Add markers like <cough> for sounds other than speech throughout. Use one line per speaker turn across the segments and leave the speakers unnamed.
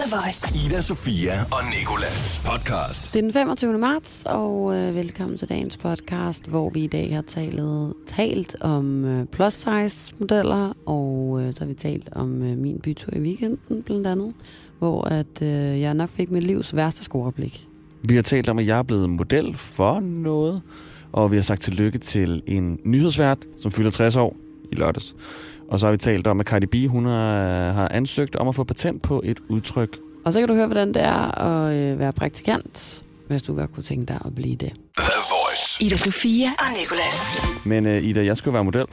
The Voice.
Ida, Sofia og Nikolas podcast.
Det er den 25. marts, og øh, velkommen til dagens podcast, hvor vi i dag har talt, talt om øh, plus-size-modeller, og øh, så har vi talt om øh, min bytur i weekenden blandt andet, hvor at, øh, jeg nok fik mit livs værste skoreblik.
Vi har talt om, at jeg er blevet model for noget, og vi har sagt tillykke til en nyhedsvært, som fylder 60 år i lørdags. Og så har vi talt om, at Cardi B hun øh, har, har ansøgt om at få patent på et udtryk.
Og så kan du høre, hvordan det er at øh, være praktikant, hvis du godt kunne tænke dig at blive det.
The Voice.
Ida Sofia og Nicolas.
Men uh, Ida, jeg skulle være model.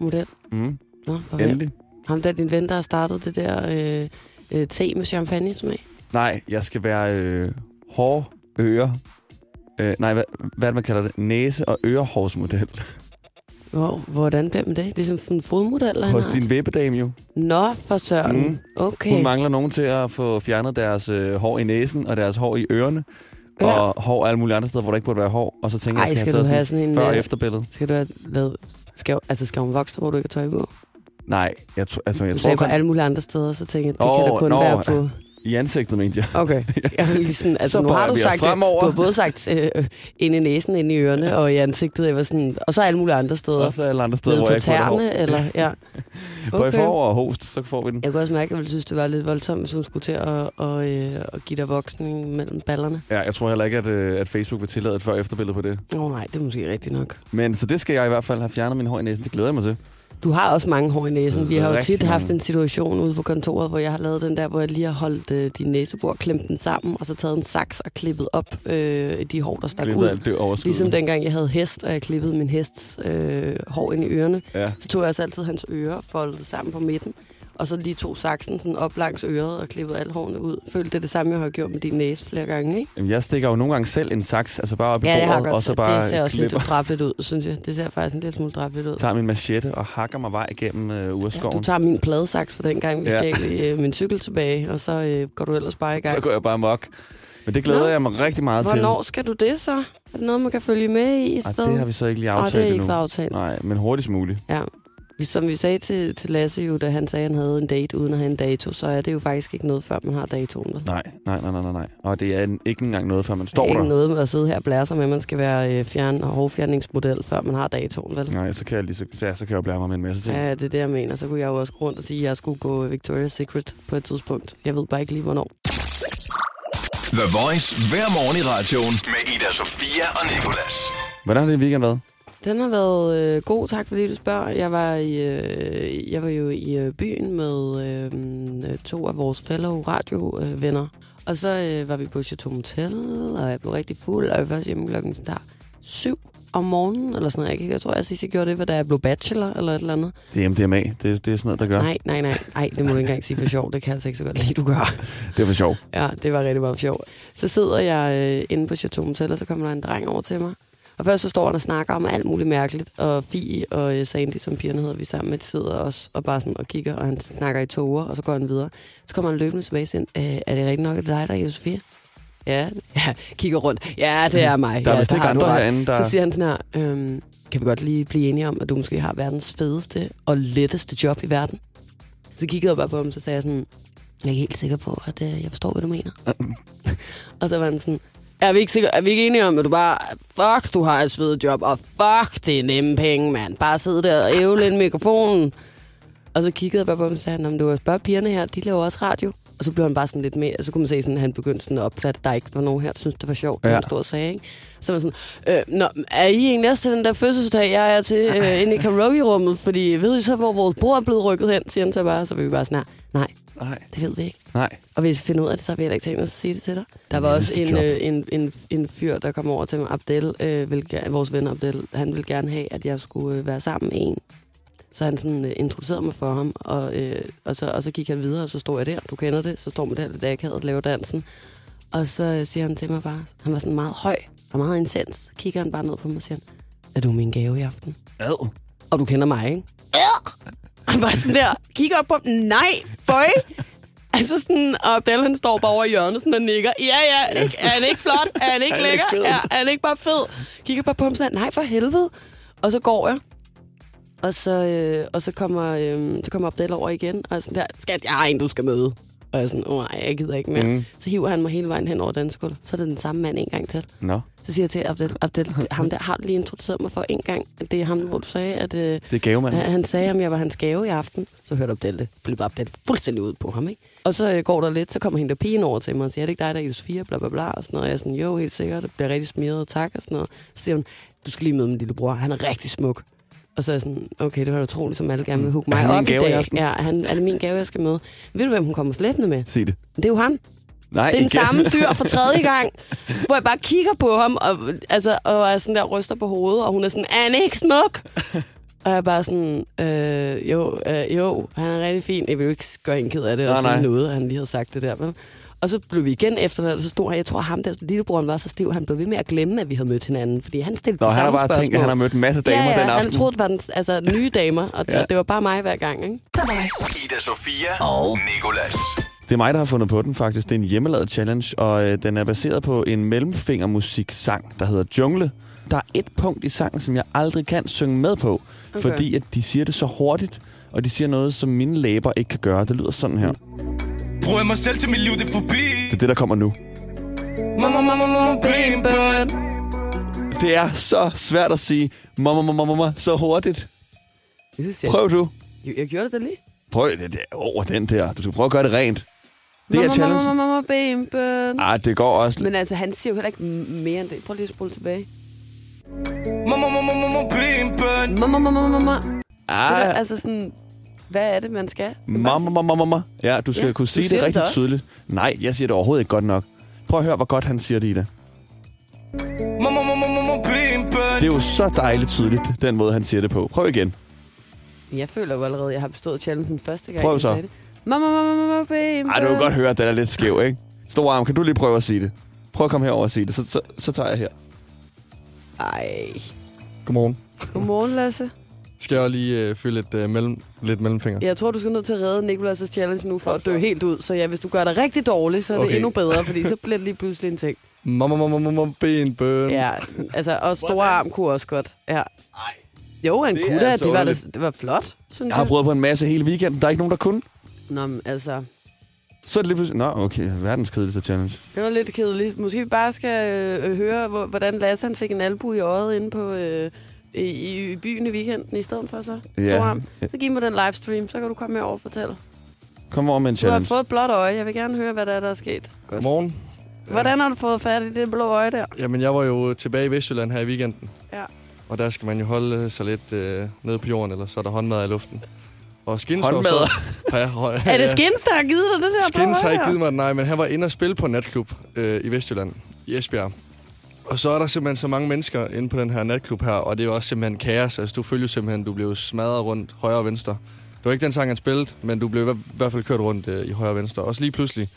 Model.
Mm,
Nå, for hvem?
endelig.
Ham der, din ven, der har startet det der øh, øh, te med champagne som af.
Nej, jeg skal være øh, hår, øre. Øh, nej, hvad, hvad er det, man kalder det? Næse- og ørehårsmodel.
Wow, hvordan bliver man det? Det er som sådan en fodmodel, eller
Hos din vippedame jo.
Nå, for søren. Mm.
Mm.
Okay.
Hun mangler nogen til at få fjernet deres øh, hår i næsen og deres hår i ørerne.
Ja.
Ja. Og hår alle mulige andre steder, hvor der ikke burde være hår. Og så tænker
Ej,
jeg, skal,
skal du
jeg
have
tage
sådan en...
sådan før- og
øh,
efterbillede?
Skal du have lavet... Skal, altså, skal hun vokse, hvor du ikke har tøj på?
Nej, jeg, tr- altså, jeg
Du
tror
sagde på
kun
alle mulige andre steder, så tænkte jeg, det kan
Åh,
da kun
nå.
være på...
i ansigtet, mente jeg.
Okay. Jeg var lige sådan, altså,
Så
nu har
bøjer
du
vi os
sagt det.
fremover.
Du har både sagt øh, øh, ind i næsen, ind i ørerne og i ansigtet. Jeg var sådan, og så alle mulige andre steder.
<laughs> Også alle andre steder,
Nede
hvor
på
jeg ikke burde have hår.
tærne,
<laughs>
eller... Ja.
Hvor jeg får hår og host, så får vi den.
Jeg kunne også mærke, at jeg ville synes, det var lidt voldsomt, hvis hun skulle til at, og, øh, at give dig voksning mellem ballerne.
Ja, jeg tror heller ikke, at, øh, at Facebook vil tillade et før- og efterbillede på det.
Åh oh, nej, det er måske rigtigt nok.
Men så det skal jeg i hvert fald have fjernet min hår i næsen. Det glæder jeg mig til.
Du har også mange hår i næsen. Vi har jo
Rigtig
tit haft
mange.
en situation ude på kontoret, hvor jeg har lavet den der, hvor jeg lige har holdt øh, din næsebord, klemt den sammen, og så taget en saks og klippet op øh, de hår, der stak
Det er
ud.
alt det overskud.
Ligesom dengang jeg havde hest, og jeg klippede min hests øh, hår ind i ørerne,
Ja.
så tog jeg også altid hans ører, foldede det sammen på midten, og så lige tog saksen sådan op langs øret og klippede alle hårene ud. Følte det er det samme, jeg har gjort med din næse flere gange, ikke?
Jamen, jeg stikker jo nogle gange selv en saks, altså bare op i
Ja, det har jeg
bordet,
godt.
og så
set.
bare
det ser også
klipper.
lidt drabligt ud, synes jeg. Det ser faktisk en lille smule drabligt ud.
tager min machette og hakker mig vej igennem øh,
Ja,
urskoven.
du tager min pladesaks for dengang, vi
Ja.
stjal øh, min cykel tilbage, og så øh, går du ellers bare i gang.
Så går jeg bare mok. Men det glæder
Nå.
Nå. jeg mig rigtig meget
Hvornår
til.
skal du det så? Er det noget, man kan følge med i i
Ej,
stedet?
det har vi så ikke lige aftalt
Ej, det er ikke
endnu.
så aftalt.
Nej, men hurtigst muligt.
Ja. Vi- Som Ligesom vi sagde til, til Lasse jo, da han sagde, at han havde en date uden at have en dato, så er det jo faktisk ikke noget, før man har datoen. vel?
Nej, nej, nej, nej, nej, nej. Og det er en- ikke engang noget, før man står
ikke
der.
noget med at sidde her og blære sig med, at man skal være øh, fjern- og hårfjerningsmodel, før man har datoen, vel?
Nej, så kan jeg lige så, ja, så kan jeg jo blære mig med en masse ting.
Ja, det er det, jeg mener. Så kunne jeg jo også gå rundt og sige, at jeg skulle gå Victoria's Secret på et tidspunkt. Jeg ved bare ikke lige, hvornår.
The Voice hver morgen i radioen med Ida, Sofia og Nikolas.
Hvordan har din weekend været?
Den har været øh, god, tak fordi du spørger. Jeg var, i, øh, jeg var jo i øh, byen med øh, øh, to af vores fellow radiovenner. Øh, venner. og så øh, var vi på Chateau Motel, og jeg blev rigtig fuld, og jeg var først hjemme klokken sådan der syv om morgenen, eller sådan noget. Jeg, kan ikke- jeg tror, jeg sidst jeg gjorde det, var da jeg blev bachelor, eller et eller andet.
Det er MDMA. Det, det er sådan noget, der gør.
Ja. Nej, nej, nej, nej, det må du ikke engang sige for sjov. Det kan jeg altså ikke så godt lide, du gør.
Det er for sjov.
Ja, det var rigtig meget sjovt. Så sidder jeg øh, inde på Chateau Motel, og så kommer der en dreng over til mig. Og først så står han og snakker om alt muligt mærkeligt, og Fie og øh, Sandy, som pigerne hedder, vi sammen med, de sidder også og bare sådan og kigger, og han snakker i toger, og så går han videre. Så kommer han løbende tilbage og siger, "Øh, er det rigtigt nok, at det er dig, der er Ida Sofia? Ja, <laughs> ja, kigger rundt. Ja, det er
<laughs>
mig.
Der er
ja,
vist
det
ikke
har du
andre
ret."
herinde, der-
Så siger han sådan her, øhm, kan vi godt lige blive enige om, at du måske har verdens fedeste og letteste job i verden? Så kiggede jeg bare på ham, så sagde jeg sådan, jeg er ikke helt sikker på, at øh, jeg forstår, hvad du mener. <laughs> og så var han sådan, er vi, ikke sikre, er vi ikke enige om, at du bare, fuck, du har et svedigt job, og fuck, det er nemme penge, mand. Bare sidde der og ævle ind i mikrofonen. Og så kiggede jeg bare på ham og sagde, han, "Nå, men du kan spørge pigerne her, de laver også radio. Og så blev han bare sådan lidt mere, og så kunne man se, sådan, at han begyndte sådan at opfatte, at der ikke var nogen her, der syntes, det var sjovt, ja. det
Ja.
han stod og sagde. Ikke? Så var han sådan, øh, nå, er I egentlig også til den der fødselsdag, jeg er til øh, inde i karaoke-rummet, fordi ved I så, hvor vores bror er blevet rykket hen, siger han så bare, så vi bare sådan her, nej,
Nej,
det ved vi ikke.
nej.
Og hvis vi finder ud af det, så har vi heller ikke tænkt os at sige det til dig. Der var
Det er
også
et
en,
job.
øh, en, en, en fyr, der kom over til mig, Abdel, øh, vil, ge- vores ven Abdel, han ville gerne have, at jeg skulle øh, være sammen med en. Så han sådan, øh, introducerede mig for ham, og, øh, og, så, og så gik han videre, og så stod jeg der, du kender det, så står man der lidt akavet og laver dansen. Og så øh, siger han til mig bare, han var sådan meget høj og meget intens, så kigger han bare ned på mig og siger, han, er du min gave i aften?
Ad.
og du kender mig, ikke? Ja. Han var sådan der, kigger op på ham, nej, føj. Altså sådan, og Abdel han står bare over i hjørnet sådan og nikker, ja, ja, er, det ikke, er han ikke flot? Er han ikke
Er han
lækker?
ikke fed?
Ja, er han ikke bare fed? Kigger bare på ham sådan, nej, for helvede. Og så går jeg. Og så, øh, og så kommer, øh, så kommer Abdel over igen, og er sådan der, skat, jeg har en, du skal møde. Og jeg er sådan, åh nej, jeg gider ikke mere.
Mm.
Mm. Så hiver han mig hele vejen hen over dansegulvet. Så er det den samme mand en gang til.
Nå,
Så siger jeg til Abdel, Abdel det- ham der har du lige introduceret mig for en gang. at Det er ham, hvor du sagde, at øh,
det er gavemanden.
han han sagde, om jeg var hans gave i aften. Så hørte Abdel det. Flippede Abdel fuldstændig ud på ham, ikke? Og så øh, går der lidt, så kommer hende der pigen over til mig og siger, er det ikke dig, der er i 4, bla bla bla, og sådan noget. Og jeg er sådan, jo, helt sikkert, det bliver rigtig smidt og tak og sådan noget. Så siger hun, du skal lige møde min lillebror, han er rigtig smuk. Og så er jeg sådan, okay, det var da utroligt, som alle gerne vil hugge
Er
mig
han
op
min gave i
i dag.
aften?
ja, han, er det min gave, jeg skal møde? Ved du, hvem hun kommer slæbende med?
Sig det.
Det er jo ham.
Nej,
Det er den
igen. <laughs>
samme fyr for tredje gang, hvor jeg bare kigger på ham, og, altså, og er sådan der ryster på hovedet, og hun er sådan, er han ikke smuk?
<laughs>
Og jeg er bare sådan, øh, jo, øh, jo, han er rigtig fin. Jeg vil jo ikke gøre hende ked af det,
Nej,
og
nej.
sådan noget, at han lige havde sagt det der. Men. Og så blev vi igen efter og så stod han, jeg tror ham der, lillebroren var så stiv, han blev ved med at glemme, at vi havde mødt hinanden, fordi han stillede
Nå,
det
han har
samme
bare
spørgsmål.
tænkt, at han har mødt en masse damer
ja, ja,
den aften.
han troede, det var den, altså, nye damer, og
Ja.
ja. det var bare mig hver gang, ikke?
The Voice.
Ida Sofia og Nikolas.
Det er mig, der har fundet på den faktisk. Det er en hjemmelavet challenge, og øh, den er baseret på en mellemfingermusiksang, der hedder Jungle. Der er et punkt i sangen, som jeg aldrig kan synge med på, okay. fordi at de siger det så hurtigt, og de siger noget, som mine læber ikke kan gøre. Det lyder sådan her. Det
Bruger jeg mig selv til mit liv, det er forbi
er det, der kommer nu.
Mamma, mamma, mamma, bim, bam.
Det er så svært at sige mamma, mamma, mamma, så hurtigt.
Det siger,
Prøv du.
Jeg, jeg gjorde det da lige.
Prøv det der over den der. Du skal prøve at gøre det rent. Det er
Mamma, mamma,
challengen.
mamma, mamma, bimben.
Ah, det går også.
Men altså, han siger jo heller ikke m- mere end det. Prøv lige at spole tilbage.
Mamma, mamma, mamma, bim, bam.
Mamma, mamma, mamma.
Ah,
Altså sådan, hvad er det, man skal?
Mamma, mamma, mamma. Ja, du skal ja,
Ja,
kunne
du
sige
siger
det
det
rigtig
også.
tydeligt. Nej, jeg siger det overhovedet ikke godt nok. Prøv at høre, hvor godt han siger det, Ida.
Mamma, mamma, mamma, bim, bam.
Det er jo så dejligt tydeligt, den måde, han siger det på. Prøv igen.
Jeg føler jo allerede, at jeg har bestået challengen første gang.
Prøv
jeg
så.
sagde det. Mamma, mamma, mamma, bimben.
Ej, Ah, du kan godt høre, at den er lidt skæv, ikke? Stor arm, kan du lige prøve at sige det? Prøv at komme herover og sige det, så, så, så tager jeg her.
Ej.
Godmorgen.
Godmorgen, Lasse.
Skal jeg lige øh, fylde et, øh, mellem, lidt mellemfinger?
Jeg tror, du skal nødt til at redde Nicolas' challenge nu for at dø helt ud. Så ja, hvis du gør det rigtig dårligt, så er okay.
Okay.
det endnu bedre, fordi så bliver det lige pludselig en ting.
Mamma, mamma, mamma, ben, bøn.
Øhm.
Ja, altså, og store arm kunne også godt. Ja. Ej. Jo, han
Det
kunne
er
da.
så
Det var, da-
underligt.
det var flot, synes
altså Jeg har
jeg.
prøvet på en masse hele weekenden, der er ikke nogen, der kunne.
Nå, men altså,
Så er det lige pludselig... Nå, okay, verdens kedeligste challenge.
Det var lidt kedeligt. Måske vi bare skal øh, høre, hvor, hvordan Lasse han fik en albu i øjet inde på, øh, i, i byen i weekenden i stedet for så.
Ja.
Ja. Så giv mig den livestream, så kan du komme med over og fortælle.
Kom over med en
Du har
challenge.
fået et blåt øje. Jeg vil gerne høre, hvad der er, der er sket.
Godmorgen. Øh,
Hvordan har du fået fat i det blå øje der?
Jamen, jeg var jo tilbage i Vestjylland her i weekenden.
Ja.
Og der skal man jo holde sig lidt øh, nede på jorden, eller så er der håndmad i luften. Og Skins
Håndmadder?
Var så, ja, hå-
<laughs> Er det Skins, der har givet dig det der blå
Skins har
øje
ikke
her?
givet mig den, nej, men han var inde og spille på en natklub øh, i Vestjylland, i Esbjerg. Og så er der simpelthen så mange mennesker inde på den her natklub her, og det er jo også simpelthen kaos. Altså, du følger simpelthen, du blev smadret rundt højre og venstre. Det var ikke den sang, han spillede, men du blev i hver- i hvert fald kørt rundt øh, i højre og venstre. Og så lige pludselig,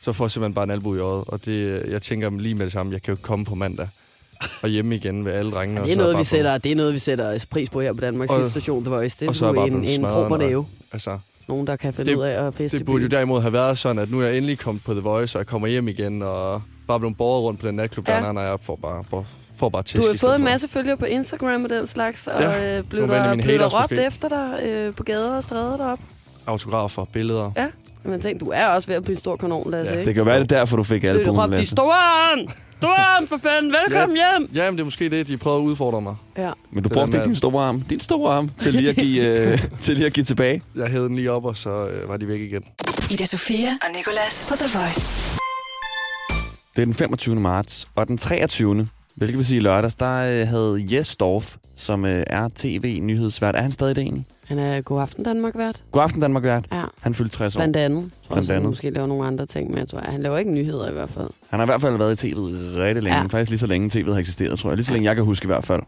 så får jeg simpelthen bare en albu i øjet. Og det, øh, jeg tænker lige med det samme, jeg kan jo ikke komme på mandag og hjemme igen ved alle drengene. og
Det er
så
noget,
bare
vi
på-
sætter, det er noget, vi sætter pris på her på Danmarks
Og-
station, The Voice. Det
og
er
så er jeg
sgu
bare
en,
blevet
en
smadret
proper
undervejs.
næve.
Altså,
Nogen, der kan finde
Det-
ud af at feste i
det burde jo
byen.
derimod have været sådan, at nu er jeg endelig kommet på The Voice, og jeg kommer hjem igen, og bare blevet borget rundt på den natklub,
Ja.
ja. der, når jeg får bare, bare, får bare tæsk.
Du har
i
fået
stedet
en
for.
masse følgere på Instagram og den slags, og
Ja,
ja, øh, blev
nogle af
der,
mine
blev
haters
der råbt
måske.
efter dig øh, på gader og stræder deroppe.
Autografer, billeder.
Ja, man tænkte, du er også ved at blive en stor kanon, Lasse,
Ja,
ja, ikke?
Det kan være, det er derfor, du fik alle
Blev du råbt i storen! Storen, for fanden! Velkommen hjem!
Ja, jamen, det er måske det, de prøver at udfordre mig.
Ja.
Men du
Det er
brugte
den
ikke din
der-
store arm. Din store arm til lige at
<laughs>
give, øh, til lige at give tilbage.
Jeg hævede den lige op, og så øh, var de væk igen.
Ida Sofia og Nicolas på The Voice.
Det er den 25. marts, og den 23. Hvilket vil sige i lørdags, der øh, havde Jes Dorf, som øh, er tv-nyhedsvært. Er han stadig det egentlig?
Han er god aften Danmark vært.
God aften Danmark vært.
Ja,
Han fyldte 60 år.
blandt andet. Jeg tror
Blandt
også, han
andet.
måske laver nogle andre ting, men jeg tror, han laver ikke nyheder i hvert fald.
Han har i hvert fald været i tv'et rigtig længe. Ja.
Ja.
Faktisk lige så længe tv'et har eksisteret, tror jeg. Lige så længe jeg kan huske i hvert fald.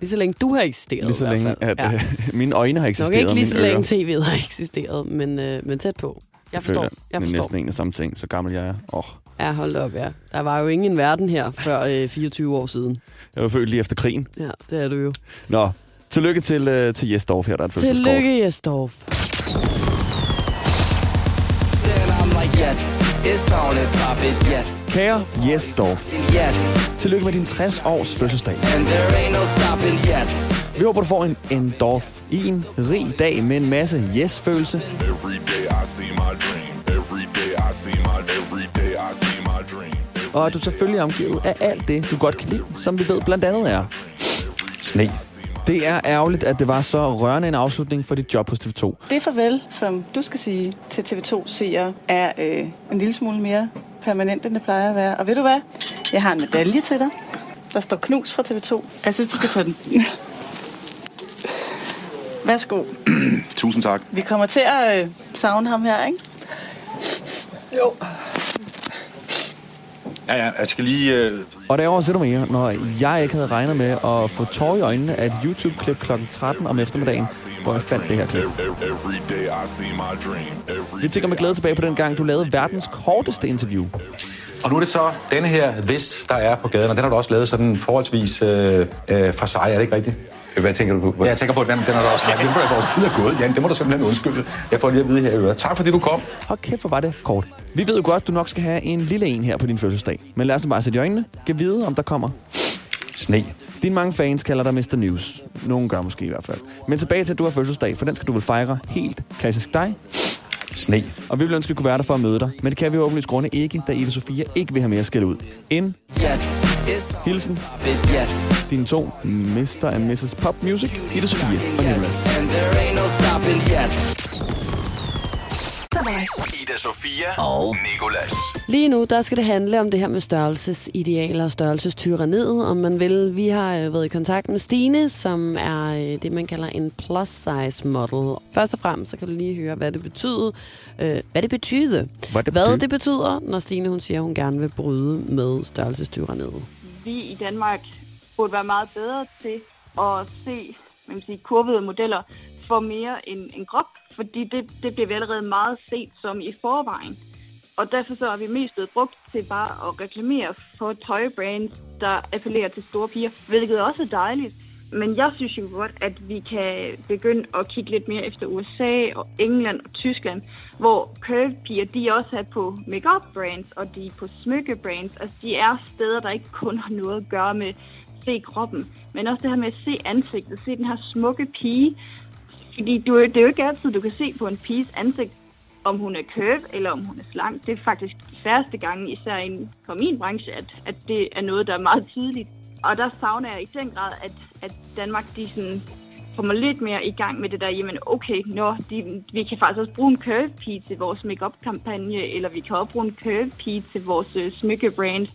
Lige så længe du har eksisteret
Lige så
i
længe,
hvert
at
fald.
øh, <laughs> mine øjne har
Nok
eksisteret.
ikke lige
og
så
mine ører.
længe tv'et har eksisteret, men, øh, men tæt på. Jeg forstår.
føler,
Jeg
Det er
forstår.
næsten en af samme ting, så gammel jeg er. Oh.
Ja, hold da op, ja. Der var jo ingen verden her før øh, 24 år siden.
Jeg var født lige efter krigen.
Ja, det er du jo.
Nå, tillykke til, øh, til Jes Dorf her, der er et fødselskort.
Tillykke, Jesdorf.
Then I'm like, yes, it's on and pop it, yes,
Kære Jes Dorf,
yes.
tillykke med din 60-års fødselsdag.
And there ain't no stopping, yes.
Vi håber, du får en endorf i en rig dag med en masse yes-følelse.
Every day I see my dream. Every
Every day I see my dream.
Og er du selvfølgelig omgivet af alt det, du godt kan lide, som vi ved blandt andet er.
Sne.
Det er ærgerligt, at det var så rørende en afslutning for dit job hos TV2.
Det farvel, som du skal sige til TV2-seere, er øh, en lille smule mere permanent, end det plejer at være. Og ved du hvad? Jeg har en medalje til dig. Der står knus fra TV2. Jeg synes, du skal tage den. Værsgo.
Tusind tak.
Vi kommer til at øh, savne ham her, ikke? Jo.
Ja, ja, jeg skal lige... Øh...
Og derovre sidder mere, når jeg ikke havde regnet med at få tårer i øjnene af et YouTube-klip kl. 13 om eftermiddagen, hvor jeg fandt det her klip.
Every, every day I see my dream. Every
Vi tænker med glæde tilbage på den gang, du lavede verdens korteste interview.
Og nu er det så denne her this, der er på gaden, og den har du også lavet sådan forholdsvis øh, øh, for sig, er det ikke rigtigt? Hvad tænker du på? Ja, jeg tænker på, at den, den har du også... Ja, det er vores tid er gået, Jan. Det må du simpelthen undskylde. Jeg får lige at vide her i øret. Tak fordi du kom.
Hold kæft, hvor var det kort. Vi ved jo godt, du nok skal have en lille en her på din fødselsdag. Men lad os nu bare sætte i øjnene. Kan vide, om der kommer.
Sne.
Dine mange fans kalder dig Mr. News. Nogen gør måske i hvert fald. Men tilbage til, at du har fødselsdag, for den skal du vel fejre helt klassisk dig.
Sne.
Og vi vil ønske, at vi kunne være der for at møde dig. Men det kan vi jo åbenlyst grunde ikke, da Ida Sofia ikke vil have mere skæld ud. End
Yes, it's
hilsen
bit yes.
dine to Mr. and Mrs. Pop Music, Ida Sofia og Nicolas.
And there ain't no stopping yes.
The Voice.
Ida Sofia og Nikolas.
Lige nu, der skal det handle om det her med størrelsesidealer og størrelsestyraniet, om man vil. Vi har øh, været i kontakt med Stine, som er øh, det, man kalder en plus-size model. Først og fremmest, så kan du lige høre, hvad det betyder. Øh, hvad det betyder.
Hvad det
Hvad
betyder.
det betyder, når Stine hun siger, hun gerne vil bryde med størrelsestyraniet.
vi i Danmark burde være meget bedre til at se man kan sige, kurvede modeller for mere end en krop, fordi det, det bliver vi allerede meget set som i forvejen. Og derfor så er vi mest blevet brugt til bare at reklamere for tøjbrands, der appellerer til store piger, hvilket også er dejligt. Men jeg synes jo godt, at vi kan begynde at kigge lidt mere efter USA og England og Tyskland, hvor curve-piger, de også er på makeup brands og de er på smykke-brands. Altså, de er steder, der ikke kun har noget at gøre med se kroppen, men også det her med at se ansigtet, se den her smukke pige. Fordi du, det er jo ikke altid, du kan se på en piges ansigt, om hun er curve eller om hun er slank. Det er faktisk de færreste gange, især inden for min branche, at, at det er noget, der er meget tidligt. Og der savner jeg i den grad, at, at Danmark de sådan kommer lidt mere i gang med det der, jamen okay, nå, de, vi kan faktisk også bruge en curve-pige til vores makeup-kampagne, eller vi kan også bruge en curve-pige til vores øh, smykke-brand.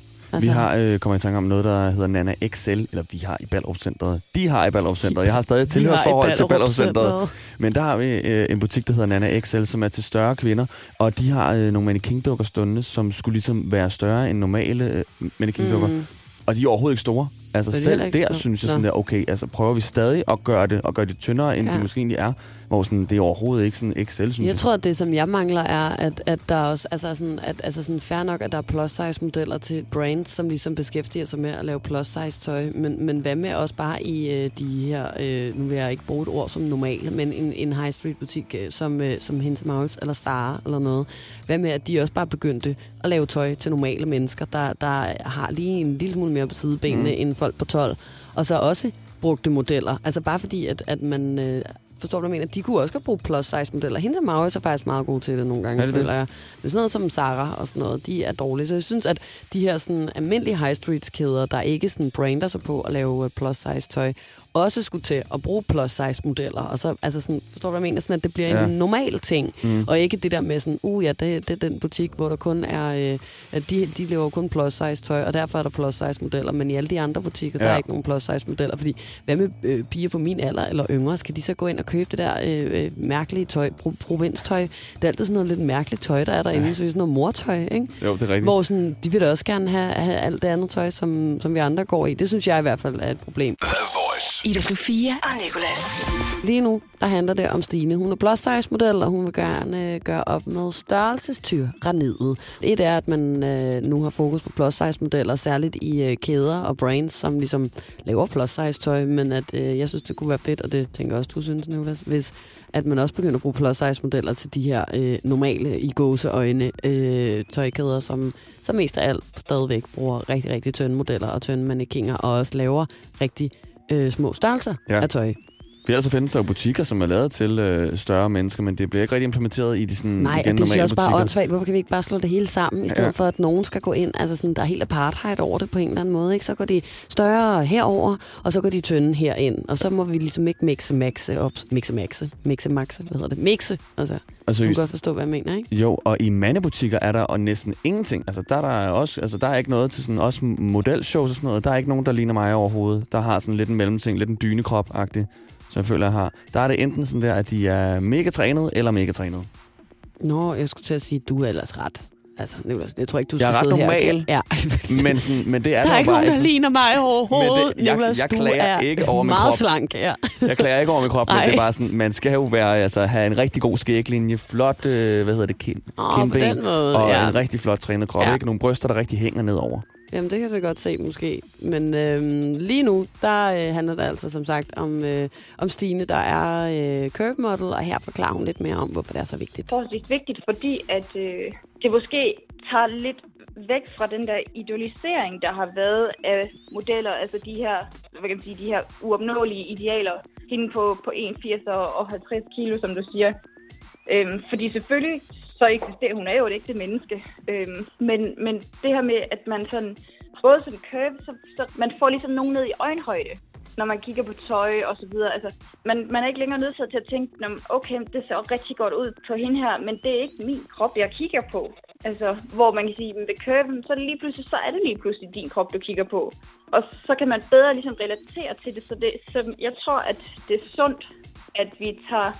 Vi har øh, kommet i tanke om noget, der hedder Nana XL, eller vi har i Ballerup Centeret. De har i Ballerup Centeret. Jeg har stadig tilhørsforhold til Ballerup Centeret. Men der har vi øh, en butik, der hedder Nana XL, som er til større kvinder. Og de har øh, nogle mannequin-dukker stående, som skulle ligesom være større end normale øh, mannequin-dukker. Mm. Og de er overhovedet ikke store. Altså
Så de er heller
selv
ikke
der
store.
synes jeg
Nå.
sådan der, okay, altså prøver vi stadig at gøre det, og gøre det tyndere, end
Ja.
ja. det måske egentlig er. Hvor sådan, det er overhovedet ikke sådan XL, synes jeg.
Jeg tror, at det, som jeg mangler, er, at, at der også, altså sådan, at, altså sådan fair nok, at der er plus-size-modeller til brands, som ligesom beskæftiger sig med at lave plus-size-tøj, men, men hvad med også bare i øh, de her, øh, nu vil jeg ikke bruge et ord som normal, men en, en high street butik øh, som, øh, som Hint Mouse eller Star eller noget. Hvad med, at de også bare begyndte at lave tøj til normale mennesker, der, der har lige en lille smule mere på sidebenene mm. end folk på 12, og så også brugte modeller. Altså bare fordi, at, at man... Øh, Forstår du, hvad jeg mener? De kunne også godt bruge plus-size-modeller. Hende som Maurits er faktisk meget god til det nogle gange,
Er det det?
føler jeg. Men sådan noget som Sarah og sådan noget, de er dårlige. Så jeg synes, at de her sådan, almindelige high street-kæder, der ikke sådan brander sig på at lave øh, plus-size-tøj, også skulle til at bruge plus-size-modeller. Og så, altså sådan, forstår du, hvad jeg mener? Sådan, at det bliver ja.
Ja.
en normal ting. Mm. Og ikke det der med sådan, uh ja, det, det er den butik, hvor der kun er... Øh, at de, de laver kun plus-size-tøj, og derfor er der plus-size-modeller. Men i alle de andre butikker, ja. der
Ja.
er ikke nogen plus-size-modeller. Fordi hvad med øh, piger på min alder eller yngre? Skal de så gå ind og købe det der øh, øh, mærkelige tøj, pro- provinstøj? Det er altid sådan noget lidt mærkeligt tøj, der er derinde. Ja. Så det er sådan noget mortøj, ikke?
Jo, det er rigtigt.
Hvor sådan, de vil da også gerne have, have alt det andet tøj, som, som vi andre går i. Det synes jeg i hvert fald er et problem.
The Voice.
Ida Sofia og Nicolas.
Lige nu, der handler det om Stine. Hun er plus size model, og hun vil gerne øh, gøre op med størrelsestyraniet. Et er, at man øh, nu har fokus på plus size modeller, særligt i øh, kæder og brands, som ligesom laver plus size tøj, men at øh, jeg synes, det kunne være fedt, og det tænker jeg også, du synes, Nicolas, hvis at man også begynder at bruge plus size modeller til de her øh, normale i gåseøjne øh, tøjkæder, som, som mest af alt stadigvæk bruger rigtig, rigtig tynde modeller og tynde mannekinger, og også laver rigtig øh, små størrelser
Ja.
ja. af tøj.
For ellers så findes der jo butikker, som er lavet til øh, større mennesker, men det bliver ikke rigtig implementeret i de sådan,
Nej,
Mm, igen,
og det synes
normale
jeg også bare er
butikker.
åndssvagt. Hvorfor kan vi ikke bare slå det hele sammen, i stedet
Ja.
ja. for at nogen skal gå ind? Altså sådan, der er helt apartheid over det på en eller anden måde. Ikke? Så går de større herover, og så går de tynde herind. Og så må vi ligesom ikke mixe maxe op. Mixe maxe. Mixe maxe. Hvad hedder det? Mixe. Altså,
Og
altså du kan
seriøst.
godt forstå, hvad jeg mener, ikke?
Jo, og i mandebutikker er der og næsten ingenting. Altså, der er der også, altså, der er ikke noget til sådan, også modelshows og sådan noget. Der er ikke nogen, der ligner mig overhovedet. Der har sådan lidt en mellemting, lidt en dynekrop-agtig, som jeg føler, jeg har. Der er det enten sådan der, at de er mega trænet eller mega trænet.
Nå, jeg skulle til at sige, du er ellers ret. Altså, Nicolas, jeg tror ikke, du
Jeg er
skal
ret
sidde her.
normal.
Ja.
Men, sådan, men det er
<laughs> Der er
jo
ikke
bare
nogen, der ligner mig overhovedet.
Men det- jeg-
Nicolas,
jeg
du
klager
er
ikke over min
meget
krop.
slank. Ja.
Jeg klager ikke over min krop, men
Ej.
det er bare sådan, man skal jo være, altså, have en rigtig god skæglinje, flot, øh, hvad hedder det, kind,
Åh, på den måde,
og
ja.
en rigtig flot trænet krop.
Ja.
Ja. Ikke nogle bryster, der rigtig hænger nedover.
Jamen, det kan du godt se måske. Men øhm, lige nu, der øh, handler det altså som sagt om, øh, om Stine, der er øh, curve model, og her forklarer hun lidt mere om, hvorfor det er så vigtigt.
forholdsvis vigtigt, fordi at øh, det måske tager lidt væk fra den der idealisering, der har været af modeller, altså de her, hvad kan man sige, de her uopnåelige idealer, hende på, på 1,80 og- og 50 kilo, som du siger. Øhm, fordi selvfølgelig så eksisterer hun er jo et ægte menneske. Øhm, men, men det her med, at man sådan, både som curve, så, så man får ligesom nogen ned i øjenhøjde, når man kigger på tøj og så videre. Altså, man, man er ikke længere nødsaget til at tænke, "Nå, men okay, det ser rigtig godt ud på hende her, men det er ikke min krop, jeg kigger på. Altså, hvor man kan sige, at ved curven, så er det lige pludselig, så er det lige pludselig din krop, du kigger på. Og så kan man bedre ligesom relatere til det, så, det, så jeg tror, at det er sundt, at vi tager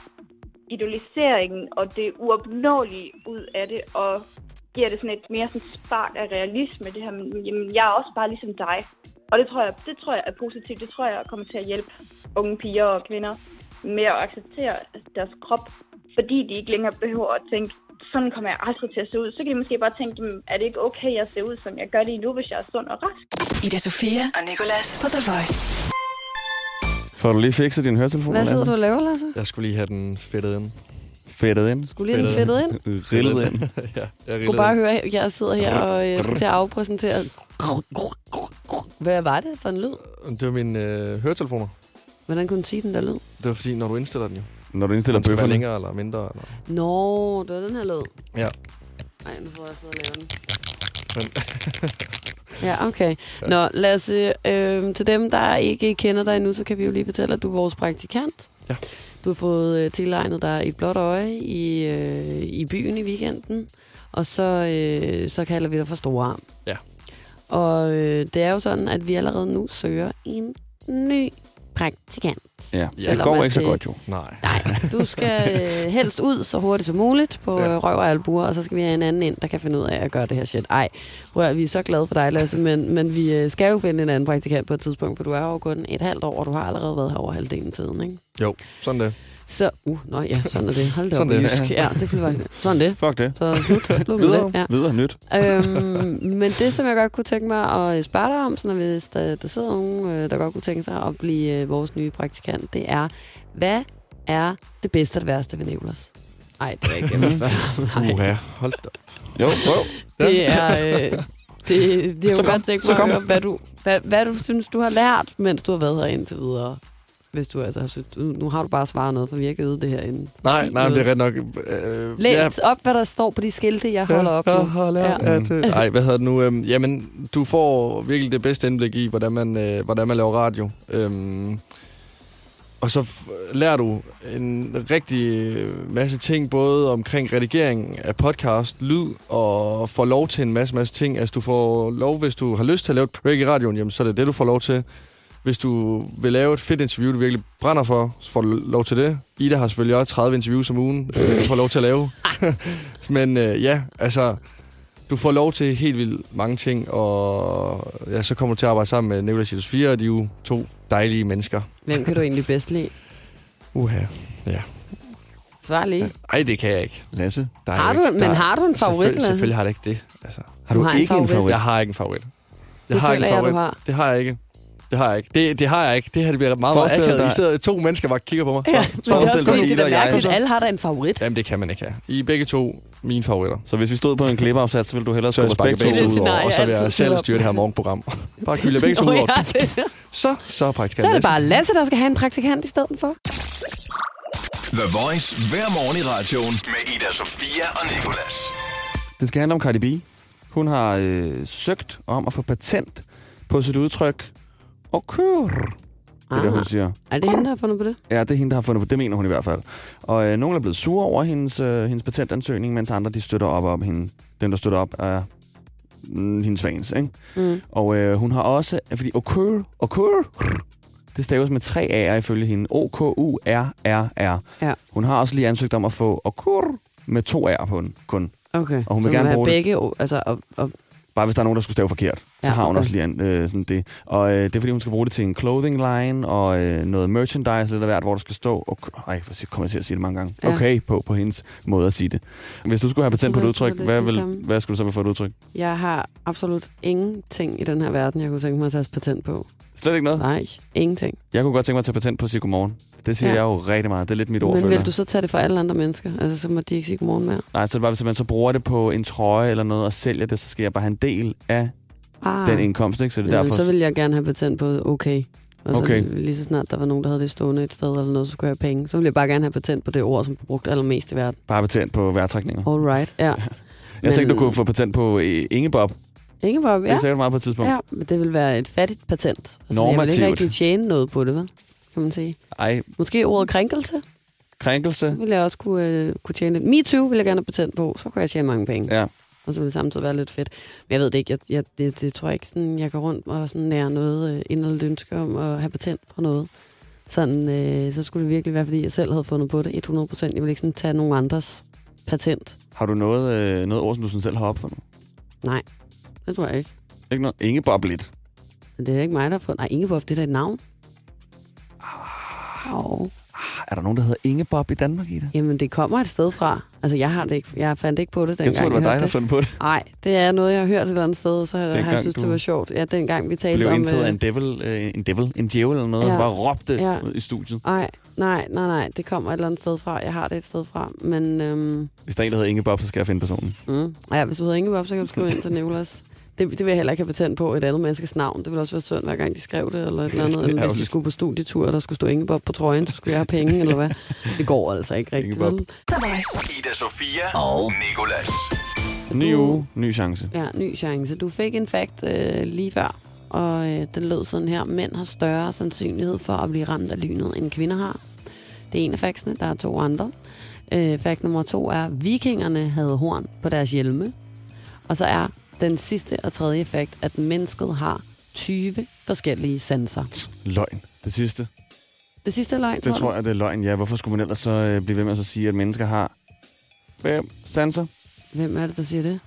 idoliseringen og det uopnåelige ud af det, og giver det sådan et mere sådan spark af realisme, det her, men jamen, jeg er også bare ligesom dig. Og det tror, jeg, det tror jeg er positivt, det tror jeg kommer til at hjælpe unge piger og kvinder med at acceptere deres krop, fordi de ikke længere behøver at tænke, sådan kommer jeg aldrig til at se ud. Så kan de måske bare tænke, "Jamen, er det ikke okay, jeg ser ud, som jeg gør lige nu, hvis jeg er sund og rask?
Ida Sofia og Nicolas på The Voice.
Får du lige fikset din høretelefon?
Hvad sidder du og laver, Lasse?
Jeg skulle lige have den fedtet ind.
Fedtet ind.
Skulle lige have den fedtet ind?
Rillet ind.
<laughs> ja, jeg
Du
rillede
kunne bare
ind.
høre, at jeg sidder her og øh, skal til at afpræsentere. Hvad var det for en lyd?
Det var mine øh, høretelefoner.
Hvordan kunne du sige den der lyd?
Det var fordi, når du indstiller den jo.
Når du indstiller
Den skal være
bøfferne.
længere eller mindre. Eller...
Nå, det var den her lyd.
Ja.
Nej, nu får jeg sidde og lave den.
Men...
Ja, okay. Nå, Lasse, øh, til dem, der ikke kender dig endnu, så kan vi jo lige fortælle, at du er vores praktikant.
Ja.
Du har fået øh, tilegnet dig et blåt øje i, øh, i byen i weekenden, og så, øh, så kalder vi dig for store arm.
Ja.
Og øh, det er jo sådan, at vi allerede nu søger en ny praktikant.
Ja, det
Selvom
går
at
ikke så
det-
godt jo.
Nej.
Nej, du skal øh, helst ud så hurtigt som muligt på
Ja.
ja. røv og albuer, og så skal vi have en anden ind, der kan finde ud af at gøre det her shit. Ej, prøv at, høre, vi er så glade for dig, Lasse, men, men vi øh, skal jo finde en anden praktikant på et tidspunkt, for du er jo kun et halvt år, og du har allerede været her over halvdelen af tiden, ikke?
Jo, sådan det.
Så, uh, nå ja, sådan er det. Hold da op,
Sådan det,
jysk.
ja.
Ja, det blev faktisk... Sådan det.
Fuck det.
Så slut. slut med
Videre,
det. Ja.
videre nyt.
øhm, men det, som jeg godt kunne tænke mig at øh, spørge dig om, sådan at hvis der, der sidder nogen, øh, der godt kunne tænke sig at blive øh, vores nye praktikant, det er, hvad er det bedste og det værste ved Nicolas? Ej, det er
Mhm.
ikke, jeg vil spørge. Nej.
Uha, hold da.
Jo,
<laughs>
prøv.
Det er... Øh, det, det er
Så kom,
jo godt tænke
så
mig at
kom.
høre, hvad du, hvad, hvad du synes, du har lært, mens du har været her indtil videre. Hvis du altså har synes, nu nu har du bare svaret noget, for vi har ikke øvet det herinde.
Nej,
Sig
nej, men det
noget.
er ret nok... Øh,
Læs op, hvad der står på de skilte, jeg holder op nu.
Jeg har lært,
Ja.
ja. at... Øh, <laughs> ej, hvad hedder det nu? Øhm, jamen, du får virkelig det bedste indblik i, hvordan man, øh, hvordan man laver radio. Øhm, og så f- lærer du en rigtig masse ting, både omkring redigering af podcast, lyd, og får lov til en masse, masse ting. Altså, du får lov, hvis du har lyst til at lave et break i radioen, jamen, så er det det, du får lov til. Hvis du vil lave et fedt interview, du virkelig brænder for, så får du lov til det. Ida har selvfølgelig også 30 interviews om ugen, øh, du får lov til at lave. Men øh, ja, altså, du får lov til helt vildt mange ting, og ja, så kommer du til at arbejde sammen med Nicolas Hildes 4, og de er jo to dejlige mennesker.
Hvem kan du egentlig bedst lide?
Uha, ja.
Svar lige.
Ej, det kan jeg ikke.
Lasse?
Der
Har
jo
du- men har du en favorit,
Selvfølgelig,
Lasse?
selvfølgelig har jeg ikke det. Altså.
Har
Du har en favorit.
Jeg har ikke en favorit.
føler jeg, du har.
Det har jeg ikke. Det har jeg ikke. Det, det har jeg ikke. Det her det bliver meget, meget
Forestil
akavet.
dig-
I sidder to mennesker bare kigger på mig.
Ja, men det er også fordi, det er da mærkeligt. Alle har da en favorit.
Jamen, det kan man ikke have. I er begge to mine favoritter.
Så hvis vi stod på en klippeafsats, så ville du hellere
Så jeg
skubbe os begge
sparker begge
to
to
ud
ud
over.
og så vil jeg
altid
selv
sidder-
styre det her
<laughs>
morgenprogram. Bare kylde begge to ud
Nå,
over.
<laughs> ja, det-
Så, så er praktikant
Så er det
Lasse.
bare Lasse, der skal have en praktikant i stedet for.
The Voice hver morgen i radioen med Ida Sofia og Nicolas.
Den skal handle om Cardi B. Hun har øh, søgt om at få patent på sit udtryk. Okay. Det er det, hun siger.
Er det hende, der har fundet på det?
Ja, det er hende, der har fundet på det. Det mener hun i hvert fald. Og øh, nogle er blevet sure over hendes, øh, hendes patentansøgning, mens andre de støtter op om hende. Dem, der støtter op, er mm, hendes fans, ikke?
Mm.
Og øh, hun har også, fordi okur, okur, det staves med tre A'er ifølge hende. O-K-U-R-R-R.
Ja.
Hun har også lige ansøgt om at få okur med to R'er på den, kun.
Okay.
Og hun
så
vil gerne
have
bruge det.
begge, det. altså, og, og,
Bare hvis der er nogen, der skulle stave forkert, ja,
Ja,
så har hun
okay.
også lige an, øh, sådan det. Og øh, det er fordi, hun skal bruge det til en clothing line og øh, noget merchandise, lidt af hvert, hvor der skal stå. Okay, ej, hvor kommer jeg til at sige det mange gange.
Ja.
Okay, på, på hendes måde at sige det. Hvis du skulle have patent på
Så
et
ved- så
udtryk,
ved det
hvad,
det
vil,
samme.
hvad skulle du så have for et udtryk?
jeg har absolut ingenting i den her verden, jeg kunne tænke mig at tage patent på.
Slet ikke noget?
Nej, ingenting.
Jeg kunne godt tænke mig at tage patent på at sige godmorgen. Det siger ja.
Ja.
jeg jo rigtig meget. Det er lidt mit ord,
Men
føler
vil du så tage det for alle andre mennesker? Altså, så må de ikke sige godmorgen mere.
jeg. Nej, så er det bare, hvis man så bruger det på en trøje eller noget og sælger det, så skal jeg bare have en del af
Ah.
den indkomst, ikke? Så det er
Jamen,
derfor...
så ville jeg gerne have patent på okay. Og så
Okay.
okay. lige så snart der var nogen, der havde det stående et sted eller noget, så skulle jeg have penge. Så ville jeg bare gerne have patent på det ord, som blev brugt allermest i verden.
Bare patent på vejrtrækninger.
All right, ja.
Jeg tænkte, du
Men-
kunne få patent på øh, Ingebob.
Ingeborg,
Det er
ja.
sikkert meget på et tidspunkt.
ja. men Det ville være et fattigt patent. Altså, Jeg ville
Normativt.
ikke rigtig tjene noget på det, vel? Kan man sige.
Ej,
Måske ordet krænkelse
krænkelse.
ville jeg også kunne, øh, kunne tjene lidt. MeToo ville jeg gerne have patent på, så kunne jeg tjene mange penge.
Ja.
Og så ville det samtidig være lidt fedt. Men jeg ved det ikke, jeg, jeg, det, det, tror jeg ikke, sådan, jeg går rundt og sådan nærer noget øh, inderligt ønske om at have patent på noget. Sådan, øh, så skulle det virkelig være, fordi jeg selv havde fundet på det 100 Jeg ville ikke sådan tage nogen andres patent.
Har du noget, øh, noget ord, som du sådan selv har opfundet?
Nej, det tror jeg ikke.
Ikke noget? Ingebob lidt.
Men det er ikke mig, der har fundet. Nej, Ingeborg, det er da et navn. Oh.
Ah, Er der nogen, der hedder Ingebob i Danmark i det?
Jamen, det kommer et sted fra. Altså, jeg, har det ikke, jeg fandt ikke på det dengang.
Jeg tror, det var dig,
hørte
der fandt på det.
Nej, det er noget, jeg har hørt et eller andet sted, og så har
Dengang
jeg synes,
du
det var sjovt. Ja, dengang vi talte
Blev
om...
indtaget
øh,
af en devil, øh, en devil, en djævel eller noget, ja.
Ja.
og så bare råbte ja.
Ja.
i studiet.
Nej, nej, nej, nej, det kommer et eller andet sted fra. Jeg har det et sted fra, men... Øhm,
Hvis der er en, der hedder Ingebob, så skal jeg finde personen.
mm. ja, hvis du hedder Ingeborg, så kan du skrive ind til Nicolas. Det, det vil jeg heller ikke have patent på et andet menneskes navn. Det ville også være synd, hver gang de skrev det, eller et eller
<laughs>
andet.
Det er
Eller hvis de
ærgerligt.
skulle på studietur, og der skulle stå Ingeborg på trøjen, så skulle jeg have penge, eller hvad? Det går altså ikke rigtigt,
Ingeborg.
vel?
Ida Sofia og Nicolas.
Ny uge, ny chance.
Ja, ny chance. Du fik en fakt øh, lige før, og øh, den lød sådan her. Mænd har større sandsynlighed for at blive ramt af lynet, end kvinder har. Det er en af factsene. Der er to andre. Øh, fakt nummer to er, vikingerne havde horn på deres hjelme. Og så er den sidste og tredje fakt, at mennesket har 20 forskellige sanser.
Løgn. Det sidste.
Det sidste er løgn,
Det
du?
tror jeg, det er løgn, ja. Hvorfor skulle man ellers så øh, blive ved med at så sige, at mennesker har fem sanser?
Hvem er det, der siger det?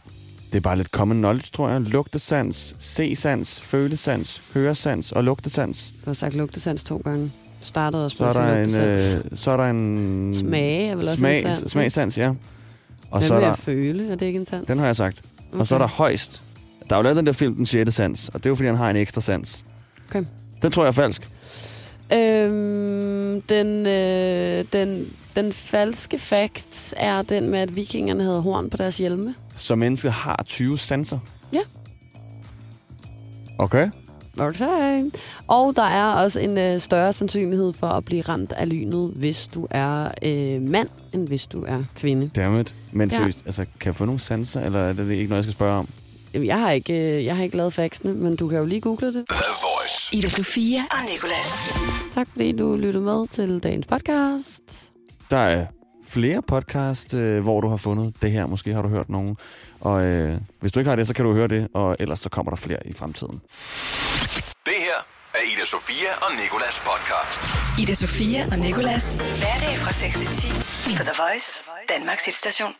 Det er bare lidt common knowledge, tror jeg. Lugtesans, se-sans, følesans, høresans og lugtesans.
Du har sagt lugtesans to gange. Du startede også
Så
med
er
at sige
der en...
lugtesans.
Øh, så er der en...
Smage er vel også
smag,
en sans,
Smagsans, ja. Og
Hvad
så er
vil
der,
jeg føle? Er det ikke en sans?
den har jeg sagt. Okay. Og så er der højst. Der er jo lavet den der film, Den 6. sans, og det er jo fordi, han har en ekstra sans.
Okay.
Den tror jeg er falsk.
Øhm, den, øh, den, den falske fakt er den med, at vikingerne havde horn på deres hjelme.
Så mennesket har 20 sanser.
Ja.
Okay.
Okay. Og der er også en øh, større sandsynlighed for at blive ramt af lynet, hvis du er øh, mand, end hvis du er kvinde.
Dammit. Men
Ja.
seriøst, altså, kan jeg få nogle sanser, eller er det ikke noget, jeg skal spørge om?
Jamen, Jeg har ikke, øh, jeg har ikke lavet faxene, men du kan jo lige google det.
The Voice.
Ida Sofia og Nicolas.
Tak fordi du lyttede med til dagens podcast.
Der er flere podcast, øh, hvor du har fundet det her. Måske har du hørt nogen. Og øh, hvis du ikke har det, så kan du høre det, og ellers så kommer der flere i fremtiden.
Det her er Ida Sofia og Nicolas podcast.
Ida Sofia og Nicolas. Hverdag fra 6 til 10 på The Voice, Danmarks hitstation.